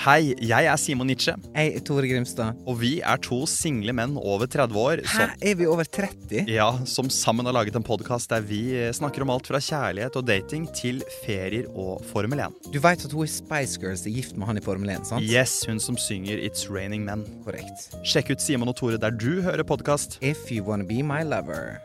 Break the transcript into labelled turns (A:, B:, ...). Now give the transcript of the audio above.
A: Hei, jeg er Simon Nietzsche,
B: Jeg er Tore Grimstad.
A: og vi er to single menn over 30 år
B: Hæ,
A: som,
B: er vi over 30?
A: ja, som sammen har laget en podkast der vi eh, snakker om alt fra kjærlighet og dating til ferier og Formel 1.
B: Du veit at hun i Spice Girls er gift med han i Formel 1, sant?
A: Yes, hun som synger It's Raining Men.
B: Korrekt.
A: Sjekk ut Simon og Tore der du hører podkast.
B: If you wanna be my lover.